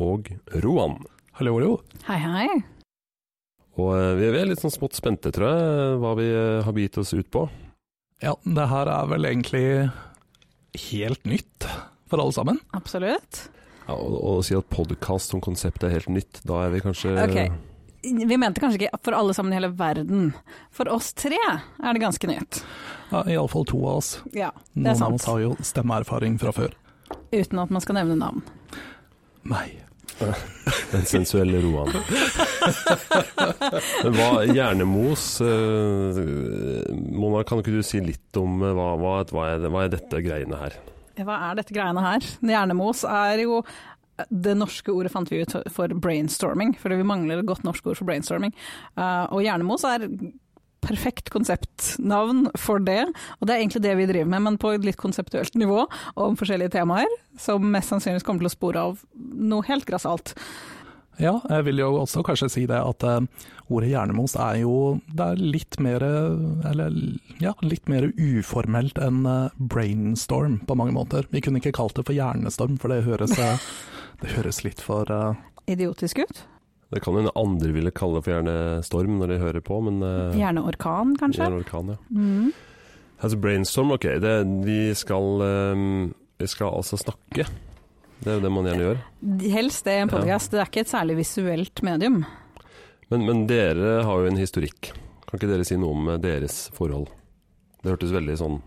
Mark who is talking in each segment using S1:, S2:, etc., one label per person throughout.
S1: og Roan.
S2: Hallo, hallo.
S3: Hei, hei.
S1: Og eh, vi er litt sånn smått spente, tror jeg, hva vi eh, har begitt oss ut på.
S2: Ja, det her er vel egentlig helt nytt for alle sammen.
S3: Absolutt.
S1: Ja, og, og å si at podkast som konsept er helt nytt, da er vi kanskje
S3: Ok. Vi mente kanskje ikke for alle sammen i hele verden. For oss tre er det ganske nytt.
S2: Ja, Iallfall to av oss.
S3: Ja,
S2: Noen
S3: det er
S2: av
S3: sant.
S2: oss har jo stemmeerfaring fra før.
S3: Uten at man skal nevne navn.
S2: Nei.
S1: den sensuelle roen. Men hva Hjernemos eh, Mona, kan ikke du si litt om eh, hva, hva, hva, er, hva er dette greiene her?
S3: Hva er dette greiene her? Hjernemos er jo det norske ordet fant vi ut for brainstorming, fordi vi mangler et godt norsk ord for brainstorming. Eh, og hjernemos er perfekt konseptnavn for det, og det er egentlig det vi driver med, men på et litt konseptuelt nivå om forskjellige temaer, som mest sannsynligvis kommer til å spore av noe helt grassat.
S2: Ja, jeg vil jo også kanskje si det at eh, ordet hjernemos er jo det er litt mer eh, Eller ja, litt mer uformelt enn eh, brainstorm på mange måter. Vi kunne ikke kalt det for hjernestorm, for det høres, eh, det høres litt for eh,
S3: Idiotisk ut.
S1: Det kan hende andre ville kalle det for hjernestorm når de hører på, men eh,
S3: Hjerneorkan, kanskje?
S1: hjerneorkan, ja.
S3: Mm.
S1: Altså brainstorm, ok. Det, vi, skal, eh, vi skal altså snakke. Det er jo det man gjerne gjør.
S3: Helst det i en podkast. Det er ikke et særlig visuelt medium.
S1: Men, men dere har jo en historikk. Kan ikke dere si noe om eh, deres forhold? Det hørtes veldig sånn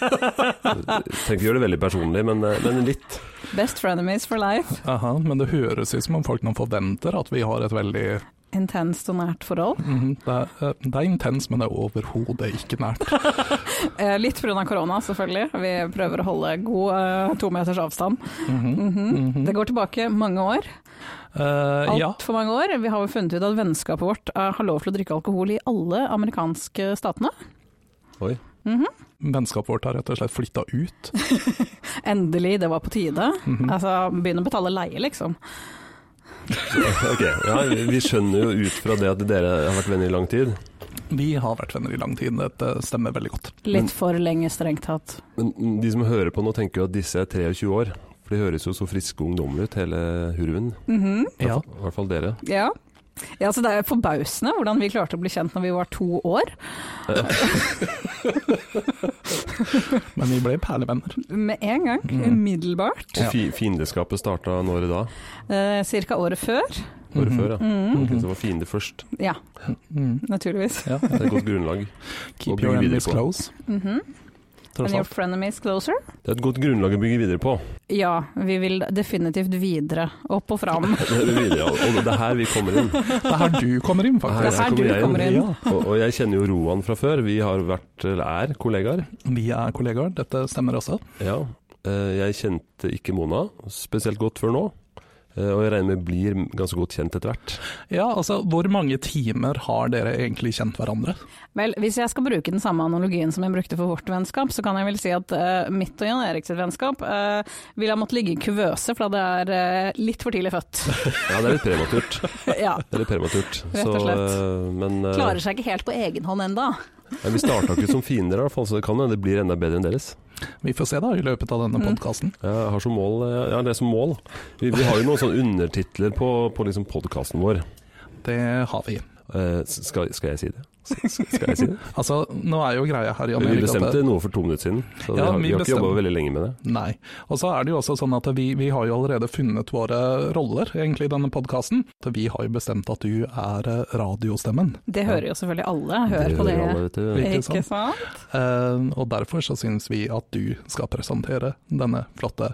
S1: Trenger ikke gjøre det veldig personlig, men, eh, men litt.
S3: Best frenemies for life.
S2: aha, Men det høres ut som om folk nå forventer at vi har et veldig
S3: Intenst og nært forhold.
S2: Mhm, det, er, eh, det er intens, men det er overhodet ikke nært.
S3: Eh, litt pga. korona, selvfølgelig. Vi prøver å holde god eh, to meters avstand. Mhm. Det går tilbake mange år.
S2: Eh, ja,
S3: Altfor mange år. Vi har jo funnet ut at vennskapet vårt eh, har lov til å drikke alkohol i alle amerikanske statene.
S1: Oi.
S2: vennskapet vårt har rett og slett flytta ut. Mhm.
S3: Endelig, det var på tide. Altså, begynne å betale leie, liksom.
S1: Ok, ja, Vi skjønner jo ut fra det at dere har vært venner i lang tid.
S2: Vi har vært venner i lang tid, dette stemmer veldig godt.
S1: Men-
S3: Litt for lenge, strengt tatt.
S1: Men de som hører på nå, tenker jo at disse er 23 år. For de høres jo så friske og ungdommelige ut, hele hurven.
S3: Mhm.
S2: Ja.
S1: I hvert fall dere.
S3: Ja. ja, så det er forbausende hvordan vi klarte å bli kjent når vi var to år.
S2: Men vi ble perlevenner.
S3: Med en gang,
S2: Mm.
S3: umiddelbart.
S1: Og fi fiendeskapet starta når da?
S3: Eh, cirka året før.
S1: Året
S2: Mhm.
S1: før, ja.
S3: Mm.
S1: Ok, så det var fiende først.
S3: Ja,
S2: Mhm.
S3: naturligvis.
S2: Ja.
S1: Det er et godt grunnlag.
S2: Keep
S1: Og
S2: your
S1: bygge videre
S2: enemies
S1: på.
S2: close,
S3: Mhm. And
S2: tross
S3: your
S2: alt.
S3: frenemies closer?
S1: Det er et godt grunnlag å bygge videre på.
S3: Ja, vi vil definitivt videre. Opp og fram.
S1: Det er videre, og det er her vi kommer inn.
S2: Det er her du kommer inn,
S1: Her
S3: Det
S2: faktisk.
S3: er her du kommer inn.
S2: Ja,
S1: Og, og jeg kjenner jo Roan fra før. Vi har vært, eller er, kollegaer.
S2: vi er kollegaer, dette stemmer også.
S1: Ja. Eh, Jeg kjente ikke Mona spesielt godt før nå. Eh, Og jeg regner med blir ganske godt kjent etter hvert.
S2: Ja, altså, hvor mange timer har dere egentlig kjent hverandre?
S3: Vel, hvis jeg skal bruke den samme analogien som jeg brukte for vårt vennskap, så kan jeg vel si at eh, mitt og Jan Eriks vennskap eh, ville ha måttet ligge i kuvøse, for det er eh, litt for tidlig født.
S1: Ja, det er litt prematurt.
S3: ja.
S1: Det er litt prematurt.
S3: Rett og slett.
S1: eh, men eh,
S3: Klarer seg ikke helt på egen hånd enda.
S1: men vi starta ikke som fiender, i hvert fall, så det kan hende det blir enda bedre enn deres.
S2: Vi får se da, i løpet av denne
S3: Mm.
S2: podkasten.
S1: Jeg har som mål, eh, ja, det er som mål. Vi, vi har jo noen sånne undertitler på, på liksom podkasten vår.
S2: Det har vi.
S1: Eh, s- Skal, skal jeg si det? S- Skal jeg si det?
S2: Altså, nå er jo greia her, Jan
S1: Vi
S2: Erik, at det-
S1: bestemte noe for to minutter siden, så vi
S2: Ja,
S1: har,
S2: vi
S1: vi har ikke jobba
S2: bestemte.
S1: veldig lenge med det.
S2: Nei. Og så er det jo også sånn at vi, vi har jo allerede funnet våre roller egentlig i denne podkasten. Vi har jo bestemt at du er eh, radiostemmen,
S3: Det hører jo selvfølgelig alle. Hør på
S1: hører alle,
S3: det.
S1: vet du.
S2: Ikke
S3: Ikke
S2: sant?
S3: sant?
S2: Eh, og derfor så syns vi at du skal presentere denne flotte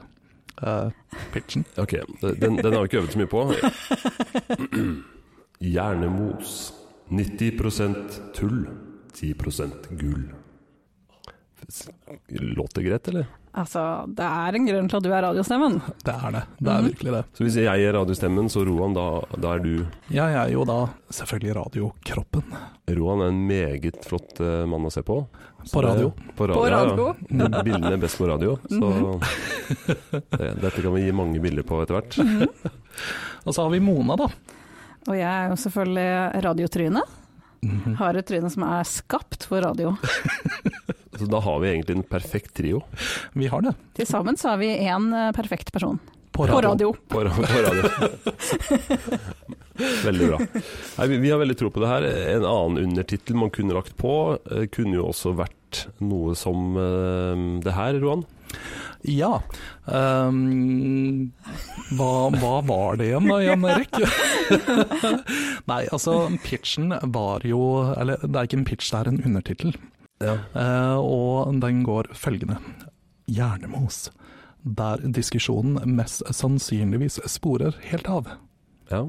S2: eh, pitchen.
S1: Ok, den, den har vi ikke øvd så mye på. Hjernemos. 90 tull, 10 gull. S- Låter greit, eller?
S3: Altså, det er en grunn til at du er radiostemmen.
S2: Det er det. Det er
S3: Mhm.
S2: virkelig det.
S1: Så hvis jeg er radiostemmen, så Roan, da, da er du
S2: Jeg er jo da selvfølgelig radiokroppen
S1: Roan er en meget flott eh, mann å se på. Så
S2: på
S1: det-
S2: radio.
S1: På radio,
S3: På radio. Mm.
S1: Ja, ja. Bildene er best på radio, så det, dette kan vi gi mange bilder på etter hvert.
S2: Og så har vi Mona, da.
S3: Og jeg er jo selvfølgelig radiotryne. Har et tryne som er skapt for radio.
S1: Så da har vi egentlig en perfekt trio
S2: Vi har det.
S3: Til sammen så er vi én eh, perfekt person.
S2: På
S3: På radio.
S1: på, ra- på radio. Veldig bra. Nei, vi, vi har veldig tro på det her. En annen undertittel man kunne lagt på, eh, kunne jo også vært noe som eh, det her, Roan.
S2: Ja. Ehm, hva, hva var det igjen, da, Jan Erik? Nei, altså, pitchen var jo Eller det er ikke en pitch, det er en undertittel. Eh, og den går følgende. Hjernemos. Der diskusjonen mest sannsynligvis sporer helt av.
S1: Ja.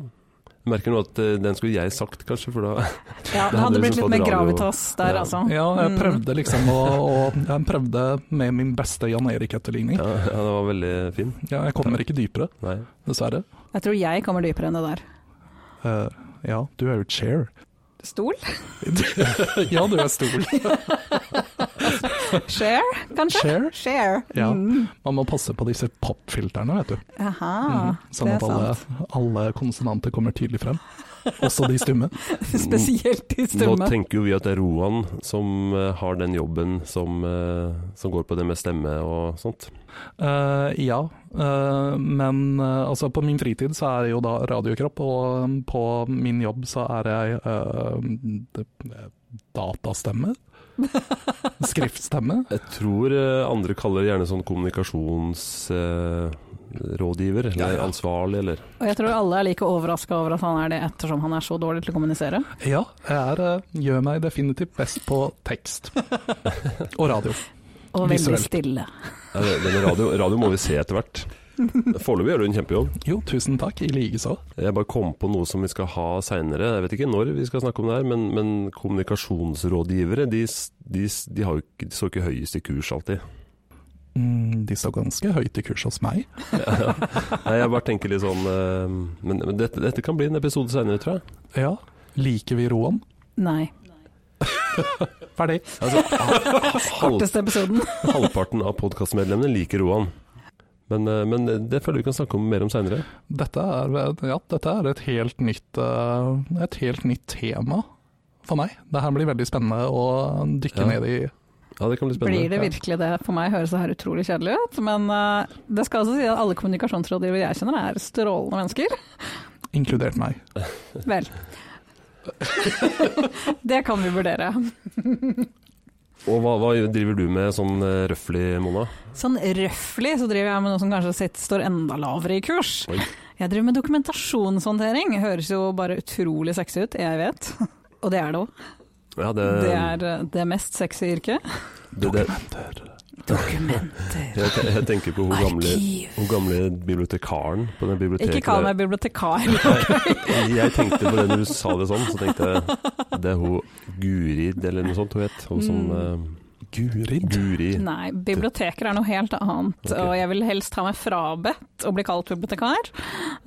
S1: Jeg merker nå at eh, den skulle jeg sagt, kanskje, for da
S3: Ja, det
S1: hadde liksom
S3: hadde blitt litt
S1: fått
S3: mer
S1: radio.
S3: gravitas der,
S1: Ja.
S3: altså.
S2: Ja, jeg
S3: Mm.
S2: prøvde liksom å, å Jeg prøvde med min beste Jan Erik-etterligning.
S1: ja, ja, det var veldig fin.
S2: Ja, jeg kommer ikke dypere,
S1: Nei.
S2: dessverre.
S3: Jeg tror jeg kommer dypere enn det der.
S2: Eh, ja, du er jo chair.
S3: Stol?
S2: ja, du er stol.
S3: Share,
S2: Chair.
S3: kanskje? Share.
S2: Ja.
S3: Mm.
S2: Man må passe på disse popfilterne, vet du.
S3: Aha,
S2: Mhm. Sånn
S3: Ah, det
S2: at
S3: er
S2: alle,
S3: sant.
S2: alle konsonanter kommer tydelig frem. Også de stumme.
S3: Spesielt i
S1: Nå
S3: stumme.
S1: tenker jo vi at det er Roan som eh, har den jobben som, eh, som går på det med stemme og sånt.
S2: Eh, ja, eh, men eh, altså på min fritid så er jeg jo da radiokropp, og um, på min jobb så er jeg eh, d- datastemme. Skriftstemme.
S1: Jeg tror eh, andre kaller det gjerne sånn kommunikasjonsrådgiver, eh,
S2: Ja,
S1: eller
S2: ja.
S1: ansvarlig, eller
S3: Og jeg tror alle er like overraska over at han er det, ettersom han er så dårlig til å kommunisere.
S2: Ja, jeg er, eh, gjør meg definitivt best på tekst og radio.
S3: Og veldig
S2: Visuelt.
S3: stille.
S1: Ja, det- det med radio, radio må vi se etter hvert. Foreløpig gjør du en kjempejobb.
S2: Jo, tusen takk, i like så.
S1: Jeg bare kom på noe som vi skal ha seinere. Jeg vet ikke når vi skal snakke om det her, men, men kommunikasjonsrådgivere de, s- de, s- de, har jo, ikke- de står ikke høyest i kurs alltid.
S2: Mm, de står ganske høyt i kurs hos meg.
S1: Nei, jeg bare tenker litt sånn eh, Men, men dette, dette kan bli en episode seinere, tror jeg.
S2: Ja, liker vi roen?
S3: Nei.
S2: Ferdig.
S1: Altså, halv,
S3: Korteste episoden.
S1: halvparten av podkastmedlemmene liker Roan. Men, eh, men det føler jeg vi kan snakke om mer om seinere.
S2: Dette er, ja, dette er et, helt nytt, eh, et helt nytt tema for meg. Det her blir veldig spennende å dykke
S1: Ja.
S2: ned i.
S1: Ja, det kan bli spennende.
S3: Blir det virkelig det? For meg høres det her utrolig kjedelig ut, men eh, det skal altså si at alle kommunikasjonsrådgivere jeg kjenner er strålende mennesker.
S2: Inkludert meg.
S3: Vel. Det kan vi vurdere.
S1: Og hva, hva driver du med sånn eh, røffelig, Mona?
S3: Sånn røfflig så driver jeg med noe som kanskje sitt står enda lavere i kurs.
S1: Oi.
S3: Jeg driver med dokumentasjonshåndtering. Høres jo bare utrolig sexy ut, jeg vet. Og det er det òg.
S1: Ja, det,
S3: Det er eh, det mest sexy yrket.
S1: det, det,
S3: Dokumenter.
S1: jeg, te- jeg tenker på hun gamle, hun gamle bibliotekaren på den biblioteket.
S3: Ikke kall meg bibliotekar.
S1: der. Jeg tenkte på det når du sa det sånn, så tenkte jeg det er hun Gurid eller noe sånt hun het. Hun som eh,
S2: Gurid.
S1: Guri.
S3: Mm. Nei, biblioteker er noe helt annet.
S1: Ok.
S3: Og jeg vil helst ha meg frabedt å bli kalt bibliotekar.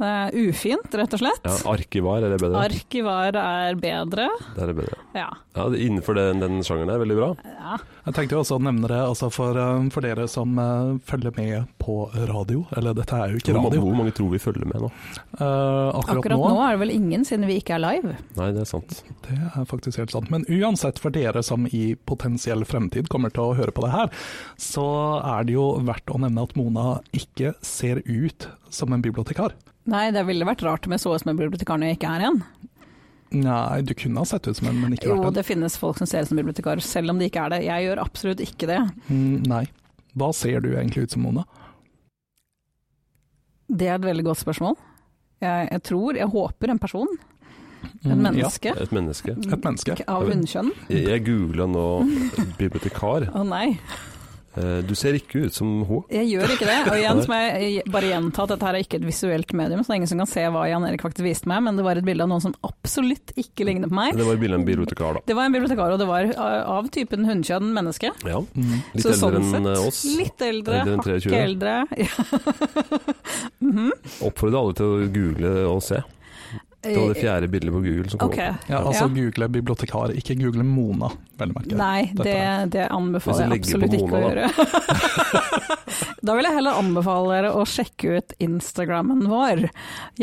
S3: Det er ufint, rett og slett.
S1: Ja, arkivar er det bedre.
S3: Arkivar er bedre.
S1: Det er det bedre.
S3: Ja.
S1: Ja, det- innenfor den, den sjangeren er veldig bra.
S3: ja.
S2: Jeg tenkte jo også å nevne det altså for, eh, for dere som eh, følger med på radio. Eller dette er jo ikke
S1: Hvor, mange-
S2: radio.
S1: hvor mange tror vi følger med nå?
S2: Eh, akkurat,
S3: Akkurat nå er det vel ingen, siden vi ikke er live.
S1: Nei, det er sant.
S2: Det er faktisk helt sant. Men uansett, for dere som i potensiell fremtid kommer til å høre på det her, så er det jo verdt å nevne at Mona ikke ser ut som en bibliotekar.
S3: Nei, det ville vært rart om jeg så ut som en bibliotekar når jeg ikke er en.
S2: Nei, du kunne ha sett ut som en, men ikke
S3: Jo,
S2: vært en.
S3: det finnes folk som ser ut som bibliotekarer, selv om de ikke er det. Jeg gjør absolutt ikke det.
S2: Mm, Nei. Hva ser du egentlig ut som, Mona?
S3: Det er et veldig godt spørsmål. Jeg, jeg tror, jeg håper en person,
S2: Mm,
S3: en menneske,
S1: Et menneske.
S2: Ja, et menneske.
S3: av hunnkjønn.
S1: Jeg, jeg googla nå bibliotekar,
S3: Å nei.
S1: Eh, Du ser ikke ut som hun.
S3: Jeg gjør ikke det. Og igjen, som jeg bare gjenta at dette her er ikke et visuelt medium, så det er ingen som kan se hva Jan Erik faktisk viste meg, men det var et bilde av noen som absolutt ikke lignet på meg.
S1: Det var bilde av en bibliotekar, da.
S3: Det var en bibliotekar, og det var uh, av typen hunnkjønn menneske.
S1: Ja,
S2: Mm,
S1: litt
S3: så
S1: eldre
S3: sånn
S1: enn
S3: sett,
S1: eh, oss.
S3: Litt eldre,
S1: Eldre enn
S3: hakket
S1: 23.
S3: eldre.
S1: Oppfordrer alle til å google og se. Det var det fjerde bildet på Google som kom.
S3: Eh, Ok.
S2: Ja, altså google bibliotekar, ikke google Mona, vel å merke.
S3: Nei,
S2: Dette
S3: det,
S2: er-
S3: det anbefaler jeg
S1: Hvis jeg
S3: absolutt
S1: legger på
S3: ikke å
S1: Mona,
S3: gjøre. da vil jeg heller anbefale dere å sjekke ut Instagrammen vår,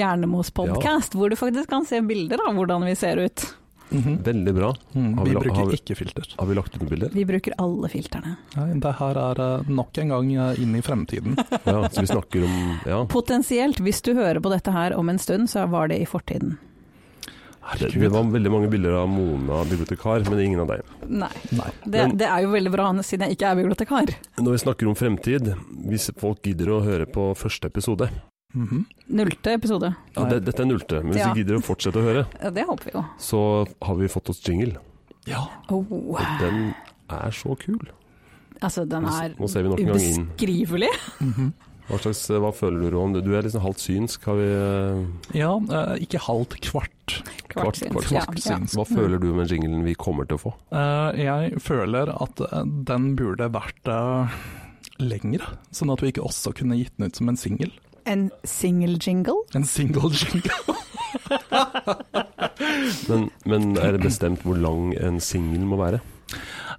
S3: Hjernemos podcast, hvor du faktisk kan se bilder av hvordan vi ser ut.
S2: Mhm.
S1: Veldig bra.
S2: Mm,
S1: Har
S2: vi
S1: vi- har
S2: bruker
S1: vi-
S2: ikke filter.
S1: Har vi lagt ut noen bilder?
S3: Vi bruker alle filterne.
S2: Nei, det her er eh, nok en gang eh, inn i fremtiden.
S1: Ja, så vi snakker om Ja.
S3: Potensielt, hvis du hører på dette her om en stund, så var det i fortiden.
S1: Det, det var veldig mange bilder av Mona bibliotekar, men ingen av deg.
S3: Nei.
S2: Nei.
S3: Det,
S1: Men-
S3: det er jo veldig bra, siden jeg ikke er bibliotekar.
S1: Når vi snakker om fremtid, hvis folk gidder å høre på første episode
S2: Mhm.
S3: Nullte episode.
S1: ja,
S2: Nei.
S1: det, Dette er nullte, men hvis
S3: Ja.
S1: de gidder å fortsette å høre,
S3: Ja, Det håper vi jo.
S1: så har vi fått oss jingle.
S2: Ja.
S3: Oh,
S1: Og den er så kul.
S3: altså, den
S1: Nå,
S3: er
S1: nå ser vi nok en gang inn.
S3: ubeskrivelig.
S2: Mhm.
S1: Hva, slags, hva føler du Roan? Du er liksom halvt synsk. Har vi eh,
S2: ja eh, ikke halvt, kvart.
S1: kvart,
S3: Kvartsyns.
S1: kvart,
S3: Ja,
S1: kvart
S3: ja.
S1: synsk? Hva føler du med jinglen vi kommer til å få?
S2: Eh, jeg føler at eh, den burde vært eh, lengre, sånn at vi ikke også kunne gitt den ut som en singel.
S3: En single jingle?
S2: En single jingle.
S1: Men, men er det bestemt hvor lang en singel må være?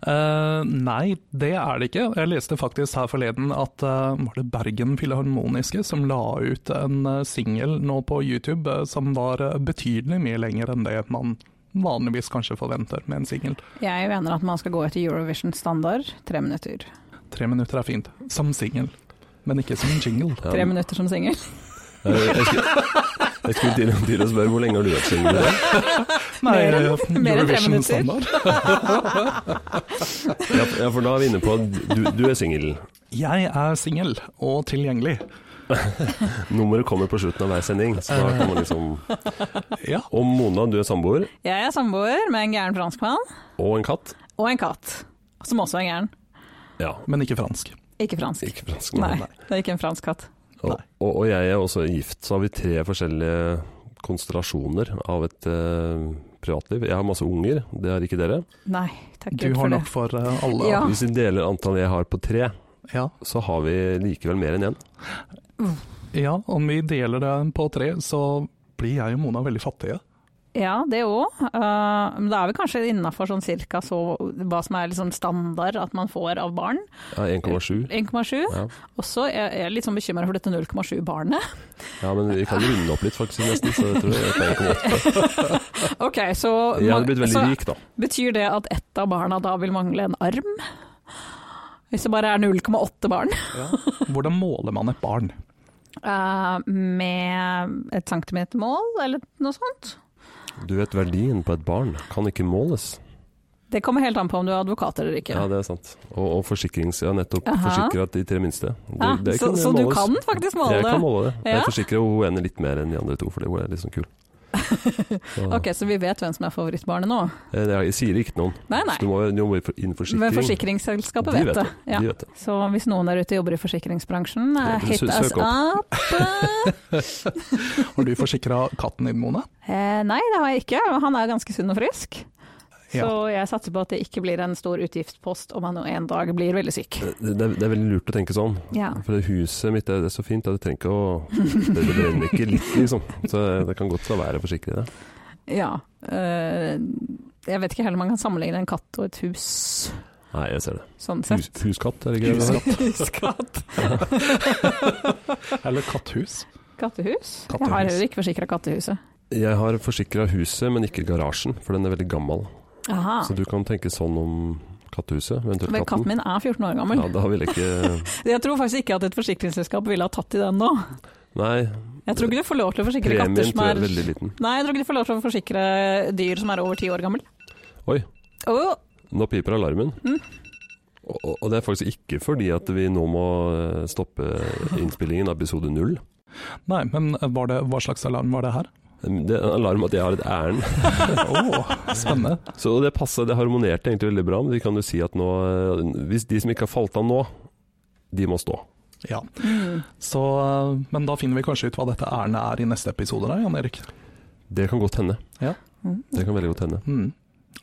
S2: Eh, nei, det er det ikke. Jeg leste faktisk her forleden at eh, var det Bergen Filharmoniske som la ut en eh, singel nå på YouTube eh, som var eh, betydelig mye lenger enn det man vanligvis kanskje forventer med en singel.
S3: Jeg mener at man skal gå etter Eurovision-standard. Tre minutter.
S2: Tre minutter er fint, som singel, men ikke som en jingle.
S1: Ja.
S3: Tre minutter som singel.
S1: Eh, Jeg skulle, jeg skulle til, til å spørre hvor lenge har du vært singel?
S3: Mer enn-
S2: eh,
S3: mer enn tre
S2: Eurovision
S3: minutter.
S2: standard.
S1: Ja, for- ja, for da er vi inne på at du, du er singel.
S2: Jeg er singel og tilgjengelig.
S1: Nummeret kommer på slutten av hver sending. Så da kan man liksom
S2: Ja.
S1: Og Mona, du er samboer
S3: Jeg er samboer med en gæren franskmann
S1: og en katt.
S3: og en katt, som også er gæren.
S1: Ja,
S2: Men ikke fransk.
S3: Ikke fransk.
S1: ikke fransk.
S3: Nei, det er ikke en fransk katt.
S1: Og, og, og jeg er også gift, så har vi tre forskjellige konstellasjoner av et eh, privatliv. Jeg har masse unger, det har ikke dere.
S3: Nei, takk
S2: Du
S3: Gud
S2: har
S3: for det.
S2: nok for eh, alle.
S3: Ja.
S1: Hvis vi deler antallet jeg har på tre,
S2: ja.
S1: så har vi likevel mer enn én.
S2: Ja, om vi deler det på tre, så blir jeg og Mona veldig fattige.
S3: Ja, det òg. men da er vi kanskje innafor sånn cirka så hva som er liksom standard at man får av barn.
S1: Ja, 1,7.
S3: 1,7.
S1: Ja.
S3: Og så er jeg litt sånn bekymra for dette 0,7-barnet.
S1: ja, men vi kan runde opp litt faktisk nesten, så jeg tror jeg er på 1,8.
S3: Ok, så,
S1: Jeg hadde blitt veldig
S3: så
S1: rik da.
S3: betyr det at ett av barna da vil mangle en arm? Hvis det bare er 0,8 barn?
S2: Hvordan måler man et barn?
S3: Eh, med et centimetermål eller noe sånt.
S1: Du vet verdien på et barn kan ikke måles.
S3: Det kommer helt an på om du er advokat eller ikke.
S1: Ja, det er sant. Og, og forsikrings... Ja, nettopp.
S3: Aha.
S1: Forsikret de tre minste. Det,
S3: Ja,
S1: det
S3: så
S1: kan
S3: så du
S1: måles.
S3: kan faktisk måle
S1: Jeg kan
S3: det.
S1: måle det. Jeg
S3: Ja.
S1: forsikrer hun ene litt mer enn de andre to, fordi hun er litt sånn kul. Så,
S3: Ok, Så vi vet hvem som er favorittbarnet nå?
S1: Eh, det- Jeg sier ikke noen.
S3: Nei, nei.
S1: Så du må jo du må jo inn forsikring.
S3: Men forsikringsselskapet
S1: De
S3: vet det. Ja.
S1: De vet det.
S3: Så hvis noen der ute jobber i forsikringsbransjen, eh,
S1: Ja,
S3: hit
S1: sø-
S3: us
S1: søk
S3: up!
S2: Har du forsikra katten din, Mona?
S3: Eh, nei, det har jeg ikke. Han er ganske sunn og frisk. Så jeg satser på at det ikke blir en stor utgiftspost om han en dag blir veldig syk.
S1: Det, det, er- det er veldig lurt å tenke sånn.
S3: Ja.
S1: For det huset mitt det er så fint, at jeg trenger ikke å Det det brenner ikke litt, liksom. Så det kan godt la være å forsikre det.
S3: ja. Eh, jeg vet ikke heller om man kan sammenligne en katt og et hus,
S1: Nei, jeg ser det.
S3: sånn
S1: Hus,
S3: sett.
S1: huskatt, er det ikke det?
S3: Huskatt.
S2: Eller katthus.
S3: Kattehus? Jeg har
S2: Kattehus.
S3: heller ikke forsikra kattehuset.
S1: Jeg har forsikra huset, men ikke garasjen, for den er veldig gammel.
S3: Aha.
S1: Så du kan tenke sånn om kattehuset, eventuelt
S3: Men katten
S1: katten.
S3: min er 14 år gammel.
S1: Ja, da vil jeg ikke
S3: Jeg tror faktisk ikke at et forsikringsselskap ville ha tatt i den nå.
S1: Nei,
S3: Jeg tror ikke du får lov til å forsikre
S1: premien
S3: katter som
S1: tror jeg
S3: er
S1: er veldig liten.
S3: Nei, jeg tror ikke du får lov til å forsikre dyr som er over ti år gammel.
S1: Oi.
S3: Åh,
S1: Nå piper alarmen.
S3: Mm.
S1: Og, og- og det er faktisk ikke fordi at vi nå må eh, stoppe innspillingen av episode null.
S2: Nei, men var det, hva slags alarm var det her?
S1: Det er en alarm at jeg har et ærend.
S2: Åh, spennende.
S1: Så det passet, det harmonerte egentlig veldig bra. Men vi kan jo si at nå eh, Hvis de som ikke har falt av nå, de må stå.
S2: Ja.
S3: Mm.
S2: Så, eh, men da finner vi kanskje ut hva dette ærendet er i neste episode, da, Jan Erik.
S1: Det kan godt hende.
S3: Mm.
S1: Det kan veldig godt hende.
S2: Mm.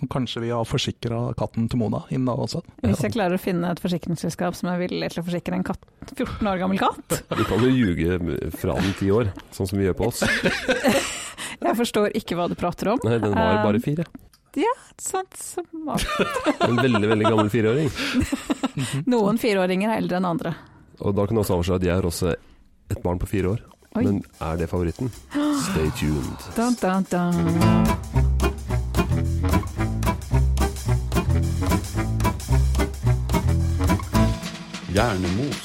S2: Og kanskje vi har forsikra katten til Mona innen da også.
S3: Hvis jeg klarer å finne et forsikringsselskap som er villig til å forsikre en katt, 14 år gammel katt
S1: Du kan jo ljuge fra den ti år, sånn som vi gjør på oss.
S3: Jeg forstår ikke hva du prater om.
S1: Nei, den var bare fire.
S3: Sånt som
S1: En veldig, veldig gammel fireåring.
S3: Noen fireåringer er eldre enn andre.
S1: Og da kan det også avsløre at jeg har også et barn på fire år.
S3: Oi.
S1: Men er det favoritten? Stay tuned.
S3: Dun, dun, dun.
S4: Hjernemos.